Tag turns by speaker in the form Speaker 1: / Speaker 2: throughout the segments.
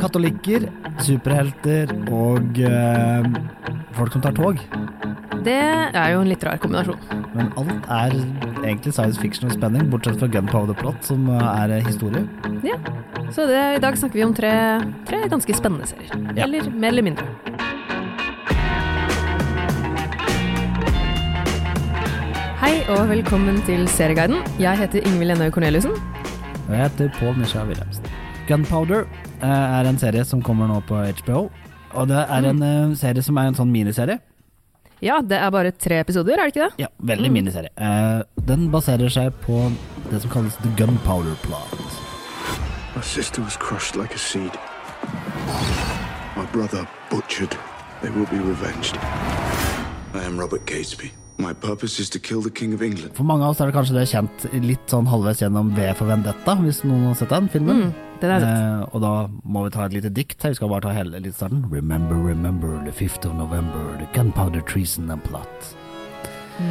Speaker 1: katolikker, superhelter og eh, folk som tar tog.
Speaker 2: Det er jo en litt rar kombinasjon.
Speaker 1: Men alt er egentlig science fiction og spenning, bortsett fra Gunpowder Plot, som eh, er historie.
Speaker 2: Ja. Så det, i dag snakker vi om tre, tre ganske spennende serier.
Speaker 1: Ja.
Speaker 2: Eller mer eller mindre. Hei og velkommen til Serieguiden. Jeg heter Ingvild Enøy Corneliussen.
Speaker 1: Og jeg heter Paul Michael Wilhelmsen. Gunpowder eh, er en serie som kommer nå på HBO. Og det er en eh, serie som er en sånn miniserie.
Speaker 2: Ja, det er bare tre episoder, er det ikke det?
Speaker 1: Ja, veldig miniserie. Eh, den baserer seg på det som kalles The Gunpowder Plot.
Speaker 3: My sister was crushed like a seed. My brother butchered. They will be revenged. I am Robert Catesby. My purpose is to kill the King of England.
Speaker 1: For mange av oss er det kanskje det kjent litt sånn halvveis gjennom V for Vendetta, hvis noen har sett den filmen.
Speaker 2: Mm, Den er sett.
Speaker 1: Eh, og da må vi ta et lite dikt her. Vi skal bare ta hele litt starten. Remember, remember the 5th of November, the gunpowder treason and plot. Eh.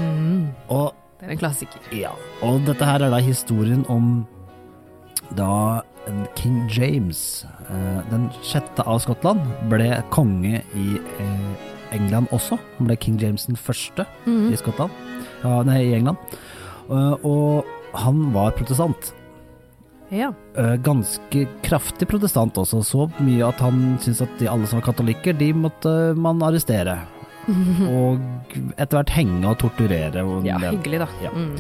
Speaker 1: Og,
Speaker 2: Mm. Det er en klassiker.
Speaker 1: ja, og dette her er da historien om da King James, eh, den sjette av Skottland, ble konge i eh, England også. Han ble King James den første
Speaker 2: Mm.
Speaker 1: i Skottland, ja, nei, i England. Eh, og han var protestant.
Speaker 2: Ja.
Speaker 1: Eh, ganske kraftig protestant også, så mye at han syntes at de alle som var katolikker, de måtte man arrestere. Og etter hvert henge og torturere. Og,
Speaker 2: ja,
Speaker 1: en del.
Speaker 2: hyggelig da.
Speaker 1: Ja.
Speaker 2: Mm.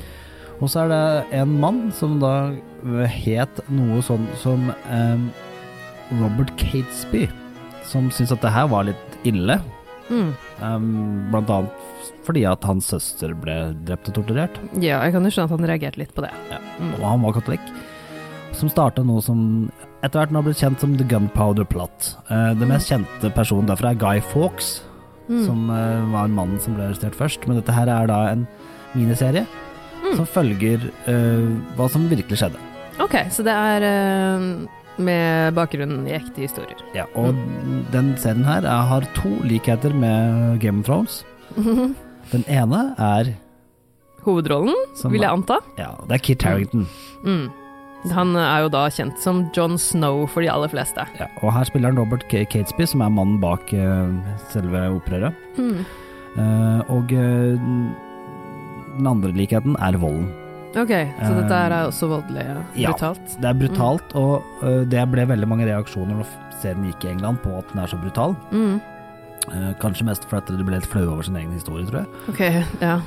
Speaker 1: og så er det en mann som da eh, het noe sånn som eh, Robert Catesby, som syntes at det her var litt ille.
Speaker 2: Mm.
Speaker 1: eh, blant annet fordi at hans søster ble drept og torturert.
Speaker 2: ja, jeg kan jo skjønne at han reagerte litt på det.
Speaker 1: og han var katolikk, som starta noe som etter hvert nå har blitt kjent som The Gunpowder Plot. Eh, den mest kjente personen derfra er Guy Fawkes,
Speaker 2: Mm.
Speaker 1: som eh, var mannen som ble arrestert først. Men dette her er da en miniserie
Speaker 2: Mm.
Speaker 1: som følger eh, hva som virkelig skjedde.
Speaker 2: Ok, så det er eh, med bakgrunn i ekte historier.
Speaker 1: Ja, og
Speaker 2: Mm.
Speaker 1: den serien her eh, har to likheter med Game of Thrones. Den ene er
Speaker 2: Hovedrollen,
Speaker 1: som,
Speaker 2: vil jeg anta.
Speaker 1: Ja, det er Kit Harrington.
Speaker 2: Mm. Han er jo da kjent som John Snow for de aller fleste.
Speaker 1: Ja, og her spiller han Robert K- Catesby, som er mannen bak eh, selve opprøret.
Speaker 2: Mm.
Speaker 1: Eh, og eh, den andre likheten er volden.
Speaker 2: Ok, så
Speaker 1: Eh,
Speaker 2: dette her er også voldelig og
Speaker 1: ja.
Speaker 2: brutalt.
Speaker 1: Det er brutalt,
Speaker 2: Mm.
Speaker 1: og eh, det ble veldig mange reaksjoner når serien gikk i England på at den er så brutal.
Speaker 2: Mm.
Speaker 1: Eh, kanskje mest fordi de ble litt flaue over sin egen historie, tror jeg.
Speaker 2: Ok, ja.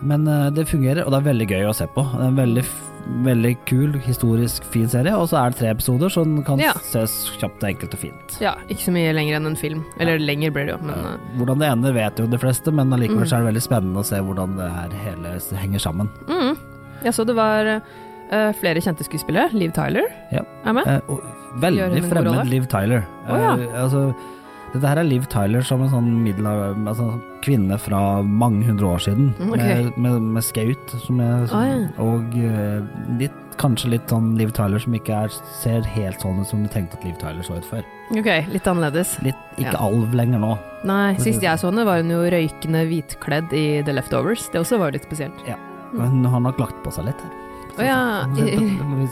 Speaker 1: Men eh, det fungerer, og det er veldig gøy å se på. Det er en veldig, f- veldig kul, historisk fin serie, og så er det tre episoder, så den kan
Speaker 2: Ja.
Speaker 1: ses kjapt, enkelt og fint.
Speaker 2: ja. Ikke så mye lenger enn en film. Eller lenger blir det jo, men eh, mm.
Speaker 1: Hvordan det ender vet jo de fleste, men allikevel så er det veldig spennende å se hvordan det her hele s- henger sammen.
Speaker 2: eh, mm. Jeg så det var eh, flere kjente skuespillere. Liv Tyler
Speaker 1: Ja.
Speaker 2: er med.
Speaker 1: Eh, og
Speaker 2: Gjør hun
Speaker 1: veldig
Speaker 2: en god rolle?
Speaker 1: fremmed Liv Tyler.
Speaker 2: Å, ja.
Speaker 1: Eh, altså, dette her er Liv Tyler som en sånn middel, altså, kvinne fra mange hundre år siden.
Speaker 2: Mm, ok.
Speaker 1: Med, med, med skaut, som jeg, som,
Speaker 2: Å,
Speaker 1: og eh, litt, kanskje litt sånn Liv Tyler som ikke er, ser helt sånn ut som du tenkte at Liv Tyler så ut før.
Speaker 2: Ok, litt annerledes.
Speaker 1: Litt, ikke
Speaker 2: Ja.
Speaker 1: alv lenger nå.
Speaker 2: Nei,
Speaker 1: Mhm.
Speaker 2: sist jeg så henne var hun jo røykende hvitkledd i The Leftovers. Det også var litt spesielt.
Speaker 1: Men hun har nok lagt på seg litt. her.
Speaker 2: Mm. Å ja,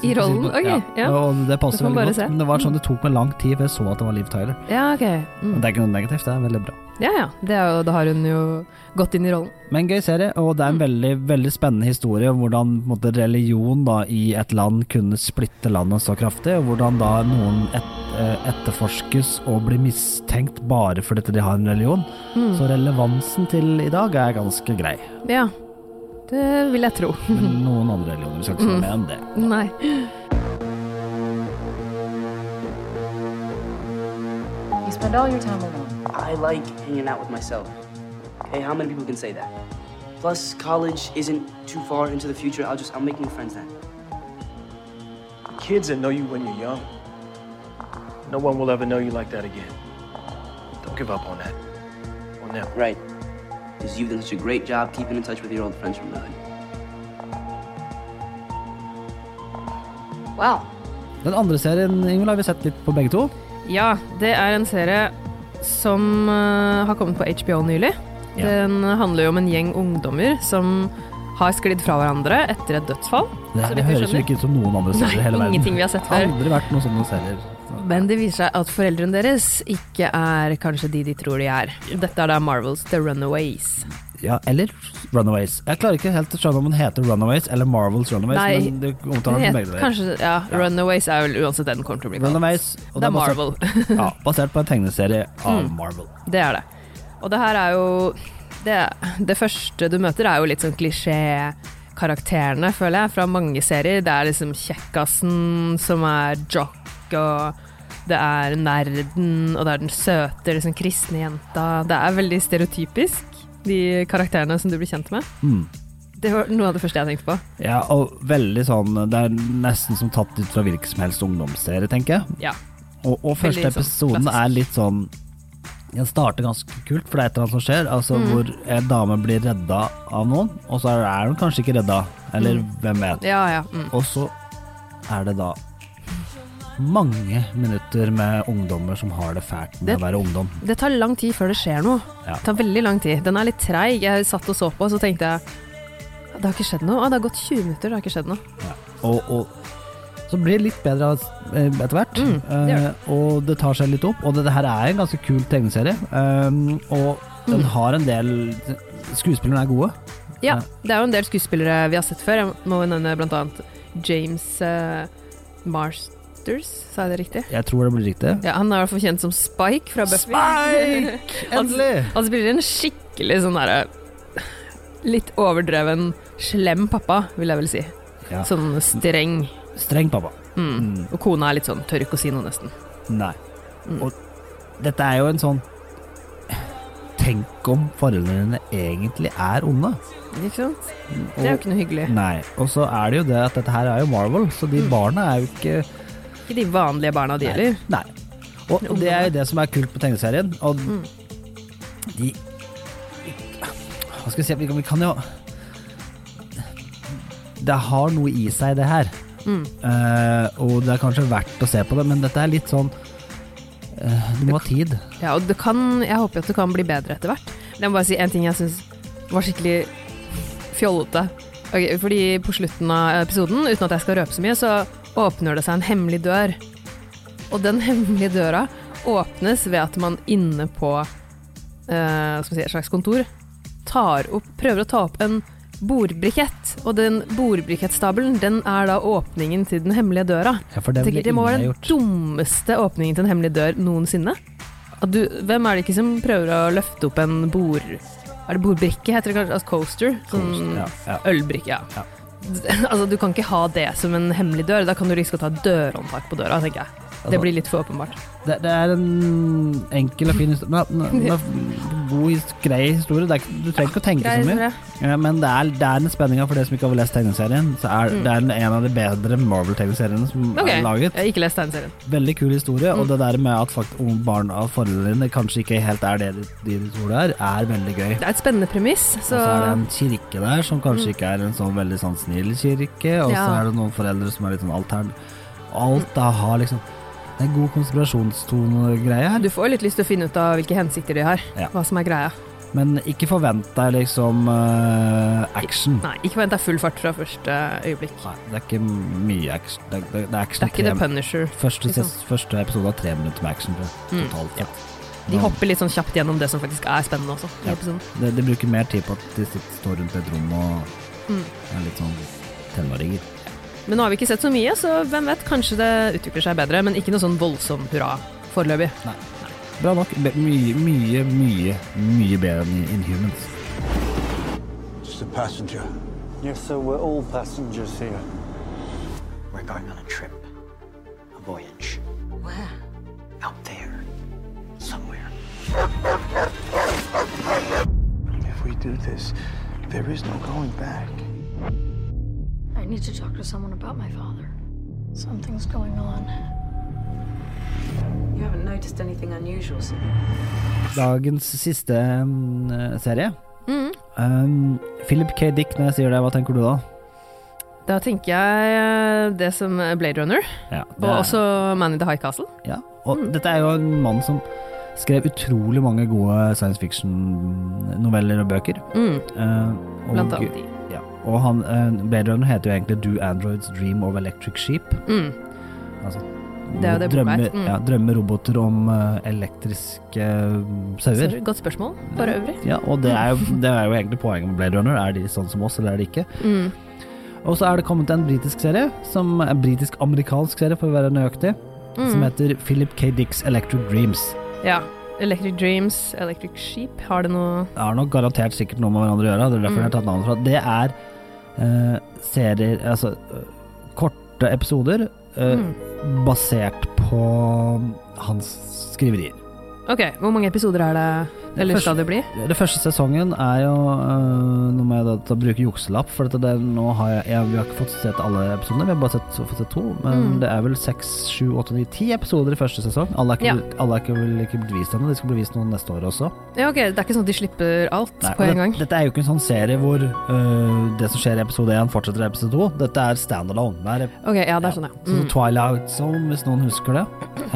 Speaker 2: i, i rollen? Ok, ja.
Speaker 1: Og det passer
Speaker 2: Det får man
Speaker 1: veldig
Speaker 2: bare
Speaker 1: godt.
Speaker 2: se.
Speaker 1: Men det var sånn det tok meg lang tid før jeg så at det var Liv Tyler.
Speaker 2: ja ok.
Speaker 1: Men
Speaker 2: Mm.
Speaker 1: Det er ikke noe negativt, det er veldig bra.
Speaker 2: Ja ja, det er jo, da har hun jo gått inn i rollen.
Speaker 1: Men gøy serie, og det er
Speaker 2: Mm.
Speaker 1: en veldig, veldig spennende historie om hvordan på en måte, religion da, i et land kunne splitte landet så kraftig, og hvordan da noen et, eh, etterforskes og blir mistenkt bare fordi de har en religion.
Speaker 2: Mm.
Speaker 1: Så relevansen til i dag er ganske grei.
Speaker 2: Ja, det vil jeg tro.
Speaker 1: Men noen andre religioner, vi skal
Speaker 2: Mm.
Speaker 1: ikke si mer om det.
Speaker 2: Nei.
Speaker 4: You spend all your time alone.
Speaker 5: I like hanging out with myself. Okay, how many people can say that? Plus, college isn't too far into the future. I'll just, I'll make new friends then.
Speaker 6: Kids that know you when you're young, no one will ever know you like that again. Don't give up on that. On them.
Speaker 5: Right. Because you've done such a great job keeping in touch with your old friends from nine.
Speaker 4: Wow.
Speaker 1: Den andre serien, Ingvild, har vi sett litt på begge to.
Speaker 2: Ja, det er en serie som eh, har kommet på HBO nylig.
Speaker 1: Ja.
Speaker 2: Den handler jo om en gjeng ungdommer som har sklidd fra hverandre etter et dødsfall.
Speaker 1: Det
Speaker 2: Så
Speaker 1: her
Speaker 2: vidt vi
Speaker 1: høres jo
Speaker 2: skjønner.
Speaker 1: ikke ut som noen andre serier i hele verden.
Speaker 2: ingenting vi har sett før.
Speaker 1: Aldri vært noen sånne serier.
Speaker 2: Men det viser seg at foreldrene deres ikke er kanskje de de tror de er. Dette er da Marvels The Runaways.
Speaker 1: Ja, eller Runaways. Jeg klarer ikke helt å skjønne om den heter Runaways eller Marvels Runaways.
Speaker 2: Nei,
Speaker 1: men det omtaler den
Speaker 2: Den
Speaker 1: som
Speaker 2: het-
Speaker 1: begge deler.
Speaker 2: Kanskje, ja, Runaways er vel uansett den kommer til å bli kalt.
Speaker 1: Runaways. og
Speaker 2: Det er
Speaker 1: basert-
Speaker 2: Marvel. Mm.
Speaker 1: ja, basert på en tegneserie av Marvel.
Speaker 2: Det er det. Og det her er jo det, det første du møter, er jo litt sånn klisjé-karakterene, føler jeg, fra mange serier. Det er liksom kjekkasen som er jock, og det er nerden, og det er den søte, liksom kristne jenta. Det er veldig stereotypisk, de karakterene som du blir kjent med. Det var noe av det første jeg tenkte på.
Speaker 1: Ja, og veldig sånn Det er nesten som tatt ut fra hvilken som helst ungdomsserie, tenker jeg.
Speaker 2: Ja.
Speaker 1: Og, og første
Speaker 2: Veldig sånn
Speaker 1: episoden
Speaker 2: klassisk.
Speaker 1: er litt sånn Den starter ganske kult, for det er et eller annet som skjer. Altså
Speaker 2: Mm.
Speaker 1: Hvor en dame blir redda av noen, og så er hun kanskje ikke redda. Eller hvem vet.
Speaker 2: Ja, ja. Mm.
Speaker 1: Og så er det da mange minutter med ungdommer som har det fælt med
Speaker 2: Det-
Speaker 1: å være ungdom.
Speaker 2: Det tar lang tid før det skjer noe.
Speaker 1: Ja.
Speaker 2: Det tar veldig lang tid. Den er litt treig. Jeg satt og så på, og så tenkte jeg det har ikke skjedd noe. Å, det har gått 20 minutter, det har ikke skjedd noe.
Speaker 1: Og, og så blir det litt bedre av- eh, etter hvert.
Speaker 2: Mm, det gjør det.
Speaker 1: Eh, og det tar seg litt opp. Og det, det her er en ganske kul tegneserie. Um, og den
Speaker 2: Mm.
Speaker 1: har en del Skuespillerne er gode.
Speaker 2: Ja,
Speaker 1: Ja.
Speaker 2: det er jo en del skuespillere vi har sett før. Jeg må jo nevne blant annet James eh, Marsters, sa jeg det riktig?
Speaker 1: Jeg tror det blir riktig.
Speaker 2: Ja, han er i hvert fall kjent som Spike fra Buffy. Han-
Speaker 1: Endelig!
Speaker 2: Han spiller en skikkelig sånn derre Litt overdreven, slem pappa, vil jeg vel si.
Speaker 1: Ja.
Speaker 2: Sånn streng.
Speaker 1: Streng pappa.
Speaker 2: Mm. Og kona er litt sånn tør ikke å si noe, nesten.
Speaker 1: Nei.
Speaker 2: Mm.
Speaker 1: Og dette er jo en sånn Tenk om foreldrene dine egentlig er onde.
Speaker 2: Ikke sant?
Speaker 1: Mm,
Speaker 2: Det er jo ikke noe hyggelig.
Speaker 1: Nei. Og så er det jo det at dette her er jo Marvel, så de barna er jo ikke
Speaker 2: Ikke de vanlige barna de gjelder.
Speaker 1: Nei. Og det er jo det som er kult på tegneserien. Og de Hva skal vi si Vi kan- Vi kan jo Det har noe i seg, det her. Eh, og det er kanskje verdt å se på det, men dette er litt sånn eh, Du må ha tid.
Speaker 2: Ja, og det kan, jeg håper at det kan bli bedre etter hvert. Men jeg må bare si en ting jeg syns var skikkelig fjollete. Ok, fordi på slutten av episoden, uten at jeg skal røpe så mye, så åpner det seg en hemmelig dør. Og den hemmelige døra åpnes ved at man inne på eh, hva skal vi si, et slags kontor tar opp, prøver å ta opp en bordbrikett. Og den bordbrikettstabelen den er da åpningen til den hemmelige døra.
Speaker 1: Ja, for det
Speaker 2: Jeg
Speaker 1: ville
Speaker 2: tenker Det må
Speaker 1: ingen
Speaker 2: være
Speaker 1: ha
Speaker 2: den
Speaker 1: gjort.
Speaker 2: dummeste åpningen til en hemmelig dør noensinne. At du, hvem er det ikke som prøver å løfte opp en bord... Er det bordbrikke, heter det kanskje? Altså coaster? Sånn
Speaker 1: Ja, ja.
Speaker 2: ølbrikke, ja.
Speaker 1: Ja.
Speaker 2: altså, du kan ikke ha det som en hemmelig dør. Da kan du like liksom ta dørhåndtak på døra, tenker jeg.
Speaker 1: Altså-
Speaker 2: Det blir litt for åpenbart.
Speaker 1: Det, det er en enkel og fin historie. Men, men, men, god, his- grei historie. Det er, ikke- du trenger ikke å tenke så mye. Ja, Men det er, det er en spenning her for dere som ikke har lest tegneserien. Så er, Det er en av de bedre Marvel-tegneseriene som
Speaker 2: Mm. Ok, Mm.
Speaker 1: er
Speaker 2: jeg
Speaker 1: laget.
Speaker 2: har ikke lest tegneserien.
Speaker 1: Veldig kul historie, og det der med at fakt om barn av foreldrene kanskje ikke helt er det de, de tror det er, er veldig gøy.
Speaker 2: Det er et spennende premiss,
Speaker 1: Og
Speaker 2: så Mm.
Speaker 1: så er det en kirke der som kanskje ikke er en sånn veldig sånn snill kirke, og så
Speaker 2: Ja.
Speaker 1: er det noen foreldre som er litt sånn altern... Alt da har liksom Det er en god konspirasjonstone-greie her.
Speaker 2: du får jo litt lyst til å finne ut av hvilke hensikter de har.
Speaker 1: Ja.
Speaker 2: Hva som er greia.
Speaker 1: Men ikke forvent deg liksom eh, action.
Speaker 2: Nei, ikke vent deg full fart fra første øyeblikk.
Speaker 1: Nei, det er ikke mye action. Det er, det er action
Speaker 2: Det liksom. er ikke
Speaker 1: tre-
Speaker 2: The Punisher.
Speaker 1: Første,
Speaker 2: Ikke
Speaker 1: ses, første episode har tre minutter med action. tror jeg. Totalt sett.
Speaker 2: Mm. De hopper litt sånn kjapt gjennom det som faktisk er spennende også. i
Speaker 1: Ja.
Speaker 2: episoden.
Speaker 1: De, de bruker mer tid på at de sitter, står rundt et rom og
Speaker 2: Mm.
Speaker 1: er litt sånn tenåringer.
Speaker 2: Men nå har vi ikke sett så mye, så hvem vet, kanskje det utvikler seg bedre. Men ikke noe sånn voldsom hurra foreløpig.
Speaker 1: Bra nok. Be- Mye, mye, mye mye bedre enn i Inhumans.
Speaker 7: Just a passenger.
Speaker 8: Yes, sir, we're all passengers here.
Speaker 7: We're going on a trip. A voyage.
Speaker 4: Where?
Speaker 7: Out there. Somewhere.
Speaker 8: If we do this, there is no going back.
Speaker 9: I need to talk to someone about my father. Something's going on.
Speaker 4: You haven't noticed anything unusual since.
Speaker 1: Dagens siste mm, serie. Um, Philip K. Dick, når jeg sier det, hva tenker du da?
Speaker 2: Da tenker jeg eh, det som Blade Runner,
Speaker 1: Ja,
Speaker 2: og også Man in the High Castle.
Speaker 1: ja. og
Speaker 2: Mm.
Speaker 1: dette er jo en mann som skrev utrolig mange gode science fiction-noveller og bøker.
Speaker 2: Mm,
Speaker 1: Eh, og,
Speaker 2: blant annet de.
Speaker 1: Ja, og han, eh, Blade Runner heter jo egentlig Do Androids Dream of Electric Sheep.
Speaker 2: Mm.
Speaker 1: Altså,
Speaker 2: Det er jo det boka
Speaker 1: drømmer,
Speaker 2: er. Mm.
Speaker 1: ja, drømmer roboter om eh, elektriske eh, sauer.
Speaker 2: Så, godt spørsmål, for øvrig.
Speaker 1: Ja, og det er, jo, det er jo egentlig poenget med Blade Runner. Er de sånn som oss, eller er de ikke?
Speaker 2: Mm.
Speaker 1: Og så er det kommet en britisk serie, som en britisk-amerikansk serie, for å være nøyaktig, som
Speaker 2: Mm.
Speaker 1: heter Philip K. Dicks Electric Dreams.
Speaker 2: Ja. Electric Dreams, Electric Sheep, har det noe
Speaker 1: Det har nok garantert sikkert noe med hverandre å gjøre, det er
Speaker 2: Mm.
Speaker 1: derfor jeg har tatt navnet fra. Det er eh, serier, altså eh, korte episoder eh,
Speaker 2: Mm.
Speaker 1: basert på hans skriverier.
Speaker 2: Ok, hvor mange episoder er det Eller skal det bli?
Speaker 1: Det første sesongen er jo øh, Nå må jeg da, ta- bruke jukselapp, for dette, det, nå har jeg, jeg Vi har ikke fått sett alle episodene, vi har bare sett, fått sett to. Men
Speaker 2: Mm.
Speaker 1: det er vel seks, sju, åtte, ni, ti episoder i første sesong. Alle er ikke, alle er ikke, vel ikke blitt vist ennå, de skal bli vist noen neste år også.
Speaker 2: Ja, ok, Det er ikke sånn at de slipper alt
Speaker 1: Nei,
Speaker 2: på
Speaker 1: og
Speaker 2: en
Speaker 1: det,
Speaker 2: gang?
Speaker 1: Dette er jo ikke en sånn serie hvor øh, det som skjer i episode én, fortsetter i episode to. Dette er standalone. Det er
Speaker 2: Ok, ja, det
Speaker 1: Ja.
Speaker 2: er sånn, ja.
Speaker 1: sånn
Speaker 2: Mm.
Speaker 1: Twilight Zone, hvis noen husker det.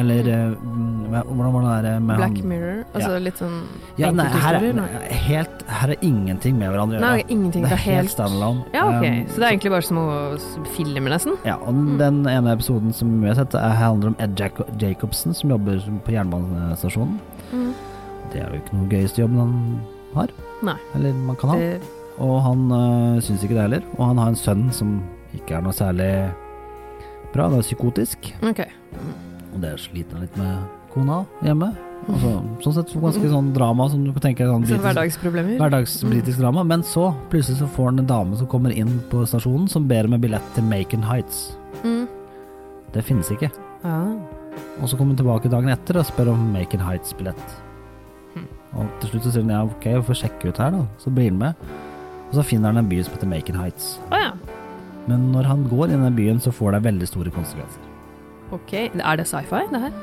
Speaker 1: Eller øh, mm, hvordan var det der med
Speaker 2: Black
Speaker 1: han
Speaker 2: Mirror, altså litt sånn
Speaker 1: ja, nei, her, er,
Speaker 2: enkelthistorier,
Speaker 1: nei,
Speaker 2: nei.
Speaker 1: helt, her er ingenting med hverandre å gjøre.
Speaker 2: Nei, ingenting.
Speaker 1: Det er helt
Speaker 2: helt
Speaker 1: standalone.
Speaker 2: Ja,
Speaker 1: Um,
Speaker 2: ok. Så Mm. det er egentlig bare små s- filmer, nesten?
Speaker 1: ja, og den- den ene episoden som vi har sett, er- handler om Ed Jaco- Jacobsen, som jobber på jernbanestasjonen.
Speaker 2: Mm.
Speaker 1: Det er jo ikke noe gøyeste jobben han har.
Speaker 2: Nei.
Speaker 1: Eller man kan ha.
Speaker 2: Det,
Speaker 1: Og han øh, syns ikke det heller. Og han har en sønn som ikke er noe særlig bra. Han er psykotisk,
Speaker 2: ok.
Speaker 1: og det sliter han litt med kona hjemme. Altså, sånn sett ganske sånn drama som du kan tenke sånn
Speaker 2: Så
Speaker 1: britisk-
Speaker 2: hverdagsproblemer?
Speaker 1: Hverdagsbritisk drama, men så plutselig så får han en dame som kommer inn på stasjonen som ber om en billett til Macon Heights.
Speaker 2: Mm.
Speaker 1: Det finnes ikke.
Speaker 2: Ja.
Speaker 1: Og så kommer hun tilbake dagen etter og spør om Macon Heights-billett. Og til slutt så sier hun ja, ok, vi får sjekke ut her, da. Så blir han med. Og så finner han en by som heter Macon Heights.
Speaker 2: Å ja.
Speaker 1: Men når han går inn i den byen, så får det veldig store konsekvenser.
Speaker 2: Ok. Er det sci-fi, det her?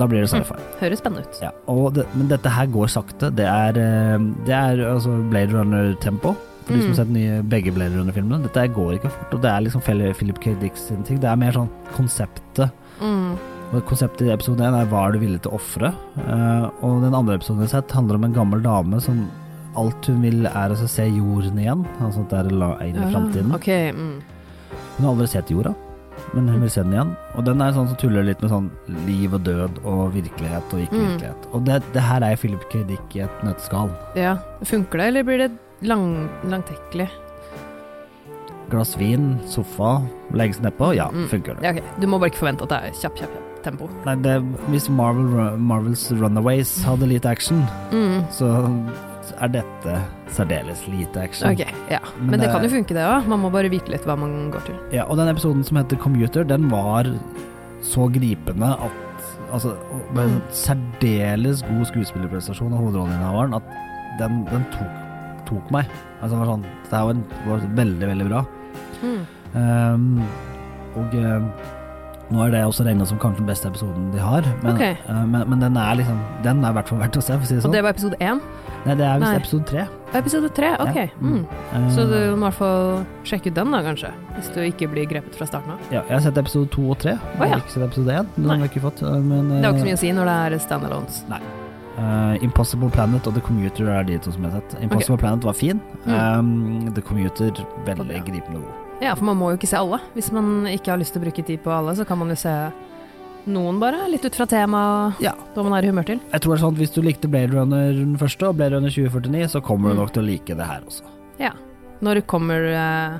Speaker 1: Da blir det sci-fi.
Speaker 2: Høres spennende ut.
Speaker 1: Ja, og det, men dette her går sakte. Det er, eh, det er altså Blade Runner-tempo. For de som
Speaker 2: Mm.
Speaker 1: har sett nye, begge Blade Runner-filmene. Dette her går ikke fort. Og det er liksom Fel- Philip K. Dicks sin ting. Det er mer sånn konseptet.
Speaker 2: Mm.
Speaker 1: Og konseptet i episode én er hva er du villig til å ofre? Eh, og den andre episoden jeg har sett, handler om en gammel dame som alt hun vil er altså se jorden igjen. Altså at det er la- inn i
Speaker 2: Ja,
Speaker 1: framtiden.
Speaker 2: Ok. Mm.
Speaker 1: Hun har aldri sett jorda, men hun vil se den igjen. Og den er sånn som tuller litt med sånn liv og død og virkelighet og ikke
Speaker 2: Mm.
Speaker 1: virkelighet. Og det, det her er Philip K. Dick i et nøtteskall.
Speaker 2: Ja. Funker det, eller blir det lang, langtekkelig?
Speaker 1: Glass vin, sofa, legge seg nedpå. Ja,
Speaker 2: Mm.
Speaker 1: funker det.
Speaker 2: Ja, ok. Du må bare ikke forvente at det er kjapp, kjapp, kjapp tempo.
Speaker 1: Nei, det, hvis Marvel, Marvels Runaways hadde litt action,
Speaker 2: Mm.
Speaker 1: så er dette særdeles lite action.
Speaker 2: Ok, ja.
Speaker 1: Men
Speaker 2: Men det
Speaker 1: det-
Speaker 2: kan jo funke, det òg. Man må bare vite litt hva man går til.
Speaker 1: Ja, og den episoden som heter Commuter, den var så gripende at Altså, og med
Speaker 2: Mm.
Speaker 1: en særdeles god skuespillerprestasjon av hovedrolleinnehaveren at den, den tok, tok meg. Altså, det var sånn Det her var, en- var veldig, veldig bra.
Speaker 2: Mm.
Speaker 1: Ehm, og eh, nå er det også regna som kanskje den beste episoden de har, men,
Speaker 2: Ok.
Speaker 1: eh, men, men den er liksom Den er i hvert fall verdt å se, for å si det sånn.
Speaker 2: Og det var episode én?
Speaker 1: Nei, det er
Speaker 2: Nei.
Speaker 1: visst episode tre.
Speaker 2: Episode tre, ok.
Speaker 1: Ja.
Speaker 2: Mm.
Speaker 1: Eh,
Speaker 2: Så du må i hvert fall sjekke ut den, da, kanskje. Hvis du ikke blir grepet fra starten av.
Speaker 1: ja, Jeg har sett episode to og tre. Jeg
Speaker 2: ja.
Speaker 1: har ikke sett episode én. Den
Speaker 2: Nei.
Speaker 1: har jeg ikke fått. eh, Men,
Speaker 2: Det er jo
Speaker 1: eh,
Speaker 2: ikke så mye å si når det er standalones.
Speaker 1: Eh, Impossible Planet og The Commuter er de to som jeg har sett. Impossible Planet var fin. Eh, The Commuter veldig
Speaker 2: Og bra.
Speaker 1: gripende god.
Speaker 2: Mm. Ja, for man må jo ikke se alle. Hvis man ikke har lyst til å bruke tid på alle, så kan man jo se noen, bare. Litt ut fra tema
Speaker 1: Ja.
Speaker 2: og hva man er i humør til.
Speaker 1: Jeg tror det er sånn at Hvis du likte Blade Runner den første og Blade Runner 2049, så kommer
Speaker 2: Mm.
Speaker 1: du nok til å like det her også.
Speaker 2: Ja. Når kommer eh,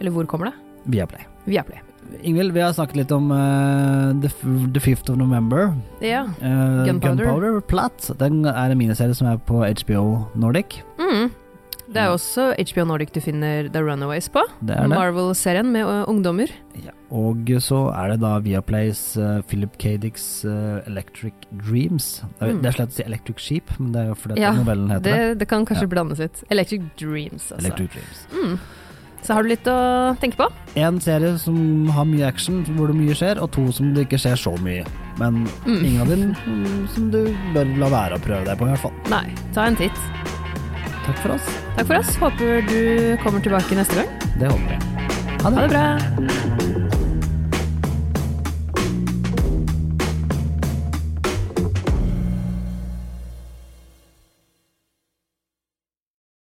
Speaker 2: Eller hvor kommer det?
Speaker 1: Viaplay.
Speaker 2: Viaplay.
Speaker 1: Ingvild, vi har snakket litt om eh, The, F- The Fifth of November.
Speaker 2: Ja.
Speaker 1: Eh,
Speaker 2: Gunpowder.
Speaker 1: Gunpowder Plat. Den er en miniserie som er på HBO Nordic.
Speaker 2: Mm. Det er jo også HBO Nordic du finner The Runaways på.
Speaker 1: Det er det.
Speaker 2: Marvel-serien med ø, ungdommer.
Speaker 1: Ja. Og så er det da Viaplays eh, Philip K. Dicks eh, Electric Dreams. Det er,
Speaker 2: Mm.
Speaker 1: det er slett å si Electric Sheep, men det er jo fordi
Speaker 2: Ja,
Speaker 1: at novellen heter det.
Speaker 2: Det, det kan kanskje
Speaker 1: Ja.
Speaker 2: blandes litt. Electric Dreams, altså.
Speaker 1: Electric Dreams.
Speaker 2: Mm. Så har du litt å tenke på?
Speaker 1: En serie som har mye action, hvor det mye skjer, og to som det ikke skjer så mye. Men
Speaker 2: Mm.
Speaker 1: ingen av dem mm, som du bør la være å prøve deg på, i hvert fall.
Speaker 2: Nei, ta en titt.
Speaker 1: Takk for oss.
Speaker 2: Takk for oss. Håper du kommer tilbake neste gang.
Speaker 1: Det håper jeg. Ha det.
Speaker 2: Ha det bra.